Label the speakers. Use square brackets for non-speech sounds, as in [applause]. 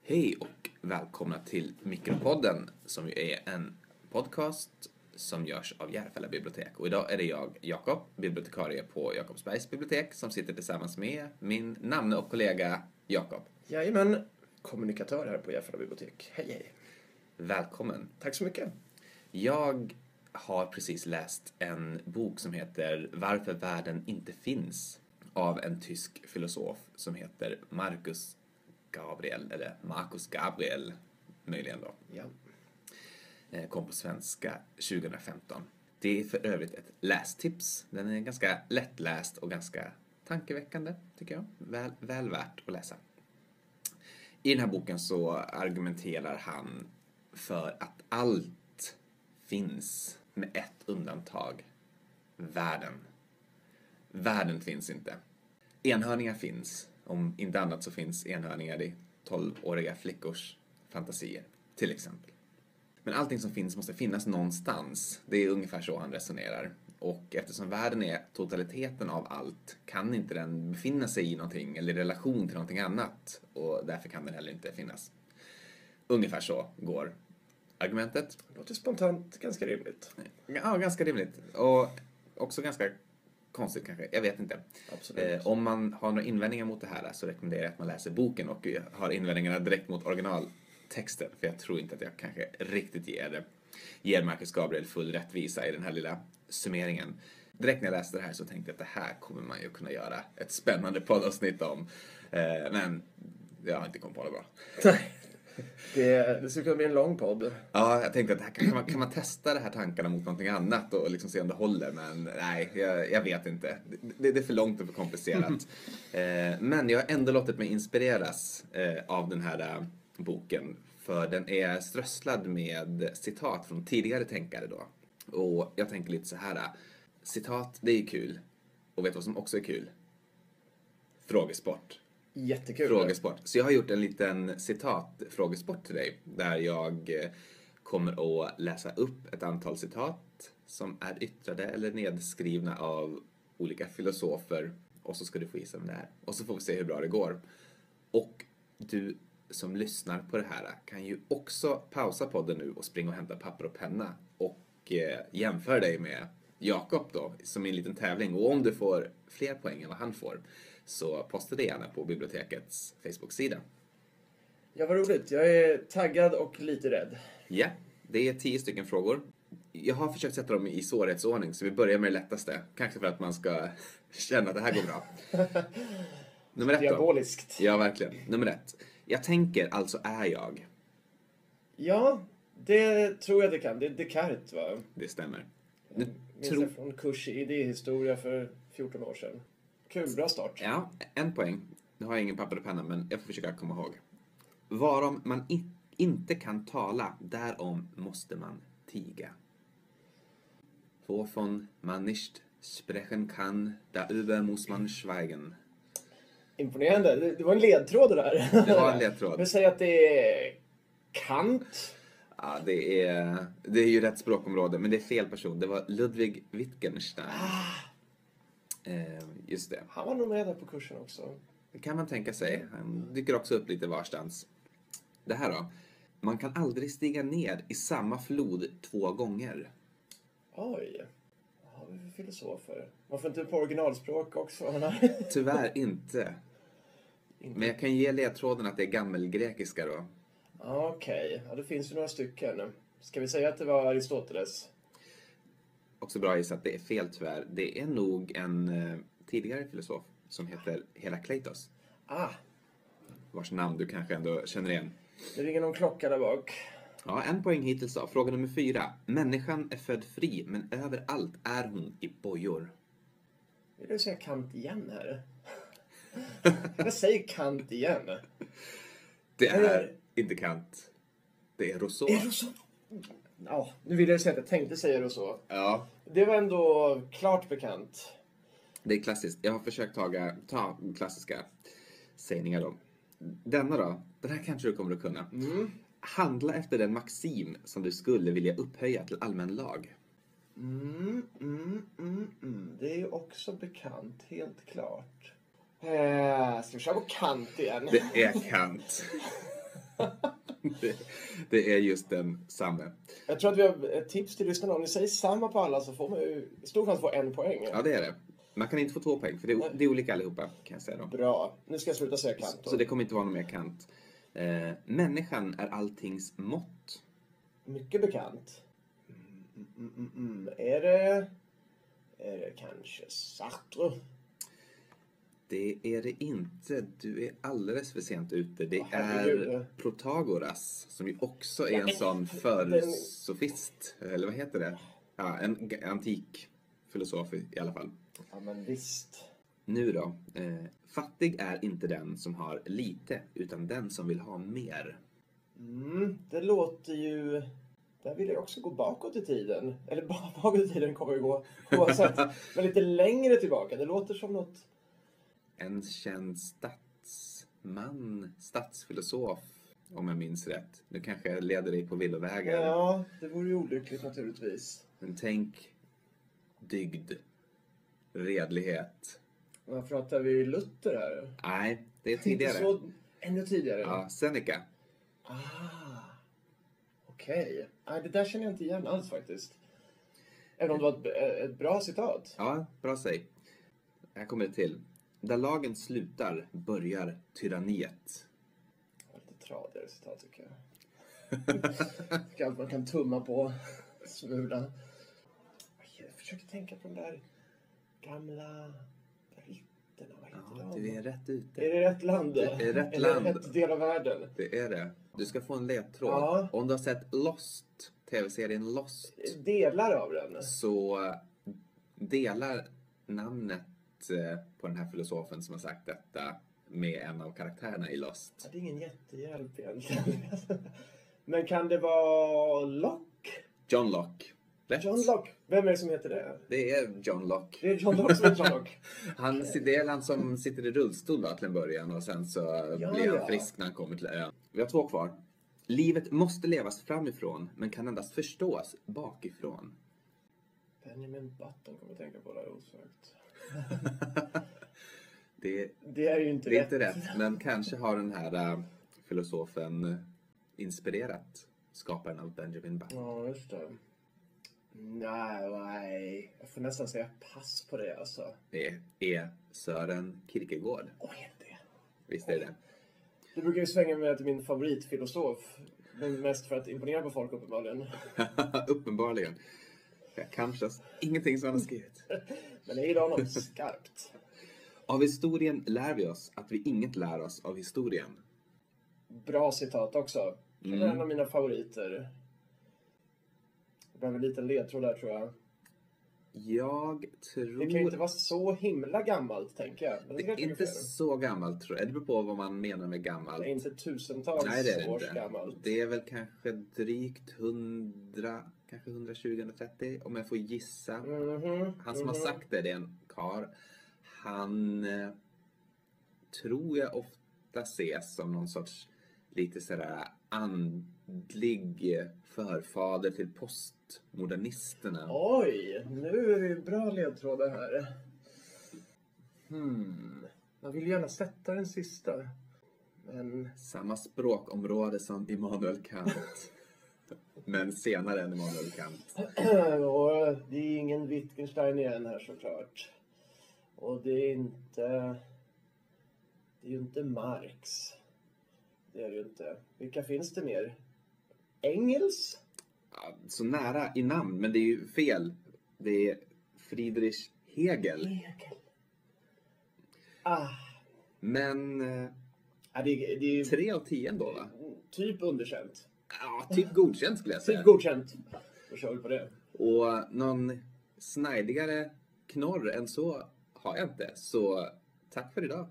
Speaker 1: Hej och välkomna till Mikropodden som ju är en podcast som görs av Järfälla bibliotek. Och idag är det jag, Jakob, bibliotekarie på Jakobsbergs bibliotek som sitter tillsammans med min namne och kollega Jakob.
Speaker 2: Jajamän, kommunikatör här på Järfälla bibliotek. Hej, hej.
Speaker 1: Välkommen!
Speaker 2: Tack så mycket.
Speaker 1: Jag har precis läst en bok som heter Varför världen inte finns av en tysk filosof som heter Marcus Gabriel, eller Marcus Gabriel möjligen då.
Speaker 2: Ja.
Speaker 1: Eh, kom på svenska 2015. Det är för övrigt ett lästips. Den är ganska lättläst och ganska tankeväckande, tycker jag. Väl, väl värt att läsa. I den här boken så argumenterar han för att allt finns med ett undantag. Världen. Världen finns inte. Enhörningar finns. Om inte annat så finns enhörningar i 12-åriga flickors fantasier, till exempel. Men allting som finns måste finnas någonstans. Det är ungefär så han resonerar. Och eftersom världen är totaliteten av allt kan inte den befinna sig i någonting eller i relation till någonting annat. Och därför kan den heller inte finnas. Ungefär så går argumentet.
Speaker 2: Låter spontant ganska rimligt.
Speaker 1: Ja, ganska rimligt. Och också ganska konstigt kanske. Jag vet inte.
Speaker 2: Absolut.
Speaker 1: Eh, om man har några invändningar mot det här så rekommenderar jag att man läser boken och har invändningarna direkt mot originaltexten. För jag tror inte att jag kanske riktigt ger, det- ger Marcus Gabriel full rättvisa i den här lilla summeringen. Direkt när jag läste det här så tänkte jag att det här kommer man ju kunna göra ett spännande poddavsnitt om. Eh, men jag har inte kommit på det bra.
Speaker 2: Nej. Det, det skulle kunna bli en lång podd.
Speaker 1: Ja, jag tänkte att det här kan, kan, man, kan man testa de här tankarna mot någonting annat och liksom se om det håller, men nej, jag, jag vet inte. Det, det, det är för långt och för komplicerat. eh, men jag har ändå låtit mig inspireras eh, av den här eh, boken, för den är strösslad med citat från tidigare tänkare då. Och jag tänker lite så här, eh, citat, det är kul. Och vet du vad som också är kul? Frågesport
Speaker 2: Jättekul.
Speaker 1: frågesport. Så jag har gjort en liten citatfrågesport till dig där jag eh, kommer att läsa upp ett antal citat som är yttrade eller nedskrivna av olika filosofer och så ska du få gissa vem det är. Och så får vi se hur bra det går. Och du som lyssnar på det här kan ju också pausa podden nu och springa och hämta papper och penna och eh, jämföra dig med Jakob då, som i en liten tävling. Och om du får fler poäng än vad han får så posta det gärna på bibliotekets Facebook-sida.
Speaker 2: Ja, vad roligt. Jag är taggad och lite rädd.
Speaker 1: Ja, det är tio stycken frågor. Jag har försökt sätta dem i svårighetsordning, så vi börjar med det lättaste. Kanske för att man ska [laughs] känna att det här går bra. Nummer ett då.
Speaker 2: Diaboliskt.
Speaker 1: Ja, verkligen. Nummer ett. Jag tänker, alltså är jag.
Speaker 2: Ja, det tror jag det kan. Det är Descartes, va?
Speaker 1: Det stämmer. Nu
Speaker 2: Mm. Minns
Speaker 1: tror-
Speaker 2: jag från kurs i idéhistoria för 14 år sedan. Kul, bra start.
Speaker 1: Ja, en poäng. Nu har jag ingen papper och penna, men jag får försöka komma ihåg. Varom man i- inte kan tala, därom måste man tiga. Wovon man nicht sprechen kann, darüber muss man schweigen.
Speaker 2: Imponerande. Det, det var en ledtråd det där.
Speaker 1: Det var en
Speaker 2: [laughs]
Speaker 1: ledtråd.
Speaker 2: Vi säger att det är Kant.
Speaker 1: Ja, det är, det är ju rätt språkområde, men det är fel person. Det var Ludwig Wittgenstein.
Speaker 2: Ah!
Speaker 1: Eh, just det.
Speaker 2: Han var nog med där på kursen också.
Speaker 1: Det kan man tänka sig. Han dyker också upp lite varstans. Det här då. Man kan aldrig stiga ner i samma flod två gånger.
Speaker 2: Oj. Vad har vi för filosofer? Varför inte på originalspråk också? [laughs]
Speaker 1: Tyvärr inte.
Speaker 2: Inte.
Speaker 1: Men jag kan ge ledtråden att det är gammelgrekiska då.
Speaker 2: Ja, Okej, ja, det finns ju några stycken. Ska vi säga att det var Aristoteles?
Speaker 1: Också bra gissat, det är fel tyvärr. Det är nog en eh, tidigare filosof som heter Herakleitos.
Speaker 2: Ah,
Speaker 1: Vars namn du kanske ändå känner igen.
Speaker 2: det ringer någon klocka där bak.
Speaker 1: Ja, en poäng hittills då. Fråga nummer fyra. Människan är född fri, men överallt är hon i bojor.
Speaker 2: Vill du säga Kant igen här? [laughs] Jag säger Kant igen.
Speaker 1: Det är
Speaker 2: Eller-
Speaker 1: inte Kant. Det är Rousseau.
Speaker 2: Eh. Är det så? Ja, nu ville jag säga att jag tänkte säga det så.
Speaker 1: Ja,
Speaker 2: Det var ändå klart bekant.
Speaker 1: det är klassiskt. Jag har försökt taga, ta klassiska sägningar då. Denna då? Den här kanske du kommer att kunna.
Speaker 2: Mm.
Speaker 1: Handla efter den maxim som du skulle vilja upphöja till allmän lag.
Speaker 2: Mm, mm, mm, mm. Det är ju också bekant, helt klart. Eh, ska vi köra på Kant igen?
Speaker 1: Det är Kant. Det, det är just den samme.
Speaker 2: Jag tror att vi har ett tips till lyssnarna. Om ni säger samma på alla så får man ju stor chans att få en poäng.
Speaker 1: Ja, det är det. Man kan inte få två poäng, för det är, det är olika allihopa kan jag säga då.
Speaker 2: Bra. Nu ska jag sluta säga kant.
Speaker 1: Så det kommer inte vara någon mer kant. Eh, människan är alltings mått.
Speaker 2: Mycket bekant. Mm, mm, mm, mm. Är det... Är det kanske Sartre?
Speaker 1: Det är det inte. Du är alldeles för sent ute. Det
Speaker 2: Åh, herregud.
Speaker 1: är Protagoras, som ju också är en
Speaker 2: Nej,
Speaker 1: sån
Speaker 2: den-
Speaker 1: försofist. Eller vad heter det? Ja, en g- antik filosof i i alla fall.
Speaker 2: Ja, men visst.
Speaker 1: Nu då. Eh, fattig är inte den som har lite, utan den som vill ha mer.
Speaker 2: Mm, det låter ju... Där vill jag också gå bakåt i tiden. Eller [laughs] ba- bakåt i tiden kommer jag gå oavsett. Men lite längre tillbaka. Det låter som något...
Speaker 1: En känd statsman, statsfilosof, om jag minns rätt. Nu kanske jag leder dig på villovägar.
Speaker 2: Ja, det vore ju olyckligt naturligtvis.
Speaker 1: Men tänk dygd, redlighet.
Speaker 2: Vad pratar vi Luther här?
Speaker 1: Nej, det är
Speaker 2: Inte
Speaker 1: tidigare.
Speaker 2: så... Ännu tidigare?
Speaker 1: Ja, Seneca.
Speaker 2: Ah, Okej. Nej, det där känner jag inte igen alls faktiskt. Även om det var ett, b- ett bra citat.
Speaker 1: Ja, bra säg. Här kommer det till. Där lagen slutar börjar tyranniet.
Speaker 2: Det var Lite tradigare citat tycker jag. [laughs] Tycker att man kan tumma på smulan. Jag försöker tänka på de där gamla britterna. Vad heter
Speaker 1: Ja,
Speaker 2: de?
Speaker 1: du är rätt
Speaker 2: Är
Speaker 1: ute.
Speaker 2: det rätt land?
Speaker 1: Det är rätt
Speaker 2: Eller
Speaker 1: land.
Speaker 2: rätt del av världen?
Speaker 1: Det är det. Du ska få en ledtråd.
Speaker 2: Ja.
Speaker 1: Om du har sett Lost, tv-serien Lost,
Speaker 2: Delar av den?
Speaker 1: så delar namnet eh, på den här filosofen som har sagt detta med en av karaktärerna i Lost.
Speaker 2: Ja, Det är ingen jättehjälp egentligen. [laughs] Men kan det vara Locke?
Speaker 1: John Locke. Rätt.
Speaker 2: John Locke. Vem är det som heter det?
Speaker 1: Det är John Locke.
Speaker 2: Det är
Speaker 1: [laughs]
Speaker 2: John Locke som heter John Locke. Eh.
Speaker 1: Han, det är han som sitter i rullstol då, till en början och sen så
Speaker 2: Ja,
Speaker 1: blir han
Speaker 2: ja.
Speaker 1: frisk när han kommer till ön. Vi har två kvar. Livet måste levas framifrån men kan endast förstås bakifrån.
Speaker 2: Benjamin Button kommer jag tänka på där osökt.
Speaker 1: Det,
Speaker 2: Det är ju inte
Speaker 1: det är
Speaker 2: rätt.
Speaker 1: inte rätt men kanske har den här äh, filosofen inspirerat skaparen av Benjamin Button.
Speaker 2: Ja, just det. Nej, nej. Jag får nästan säga pass på det alltså.
Speaker 1: Det är Sören Kierkegaard.
Speaker 2: Åh, är det det?
Speaker 1: Visst är det
Speaker 2: Du brukar ju svänga mig till min favoritfilosof. Men mest för att imponera på folk uppenbarligen.
Speaker 1: [laughs] Uppenbarligen. Jag kan förstås ingenting som han har skrivit.
Speaker 2: Men jag
Speaker 1: [laughs]
Speaker 2: gillar honom skarpt.
Speaker 1: Av historien lär vi oss att vi inget lär oss av historien.
Speaker 2: Bra citat också. Det är
Speaker 1: Mm.
Speaker 2: en av mina favoriter. Jag behöver en liten ledtråd där tror jag.
Speaker 1: Jag
Speaker 2: Det kan ju
Speaker 1: tror...
Speaker 2: inte vara så himla gammalt, tänker jag. Men
Speaker 1: Det är
Speaker 2: kanske
Speaker 1: inte
Speaker 2: fel.
Speaker 1: så gammalt tror jag. Det beror på vad man menar med gammalt.
Speaker 2: Det är inte tusentals
Speaker 1: Nej, det är det
Speaker 2: års
Speaker 1: inte.
Speaker 2: gammalt.
Speaker 1: Det är väl kanske drygt 100, kanske 120-130 om jag får gissa.
Speaker 2: Mhm,
Speaker 1: Han som har
Speaker 2: mhm.
Speaker 1: sagt det, det är en karl. Han eh, tror jag ofta ses som någon sorts lite sådär andlig förfader till postmodernisterna.
Speaker 2: Oj, nu är det ju bra ledtrådar här. Hmm. Man vill gärna sätta den sista. Men
Speaker 1: Samma språkområde som Immanuel Kant. Men senare än Immanuel Kant.
Speaker 2: och det är ingen Wittgenstein igen här såklart. Och det är inte... Det är ju inte Marx. Det är det ju inte. Vilka finns det mer? Engels?
Speaker 1: Ja, Så nära i namn, men det är ju fel. Det är Friedrich Hegel.
Speaker 2: Hegel. Ah,
Speaker 1: Men eh,
Speaker 2: ja, det, det är ju
Speaker 1: tre av tio ändå va?
Speaker 2: typ underkänt.
Speaker 1: Ja, typ godkänt skulle jag säga.
Speaker 2: Typ godkänt. Då kör vi på det.
Speaker 1: Och någon snajdigare knorr än så har jag inte. Så tack för idag.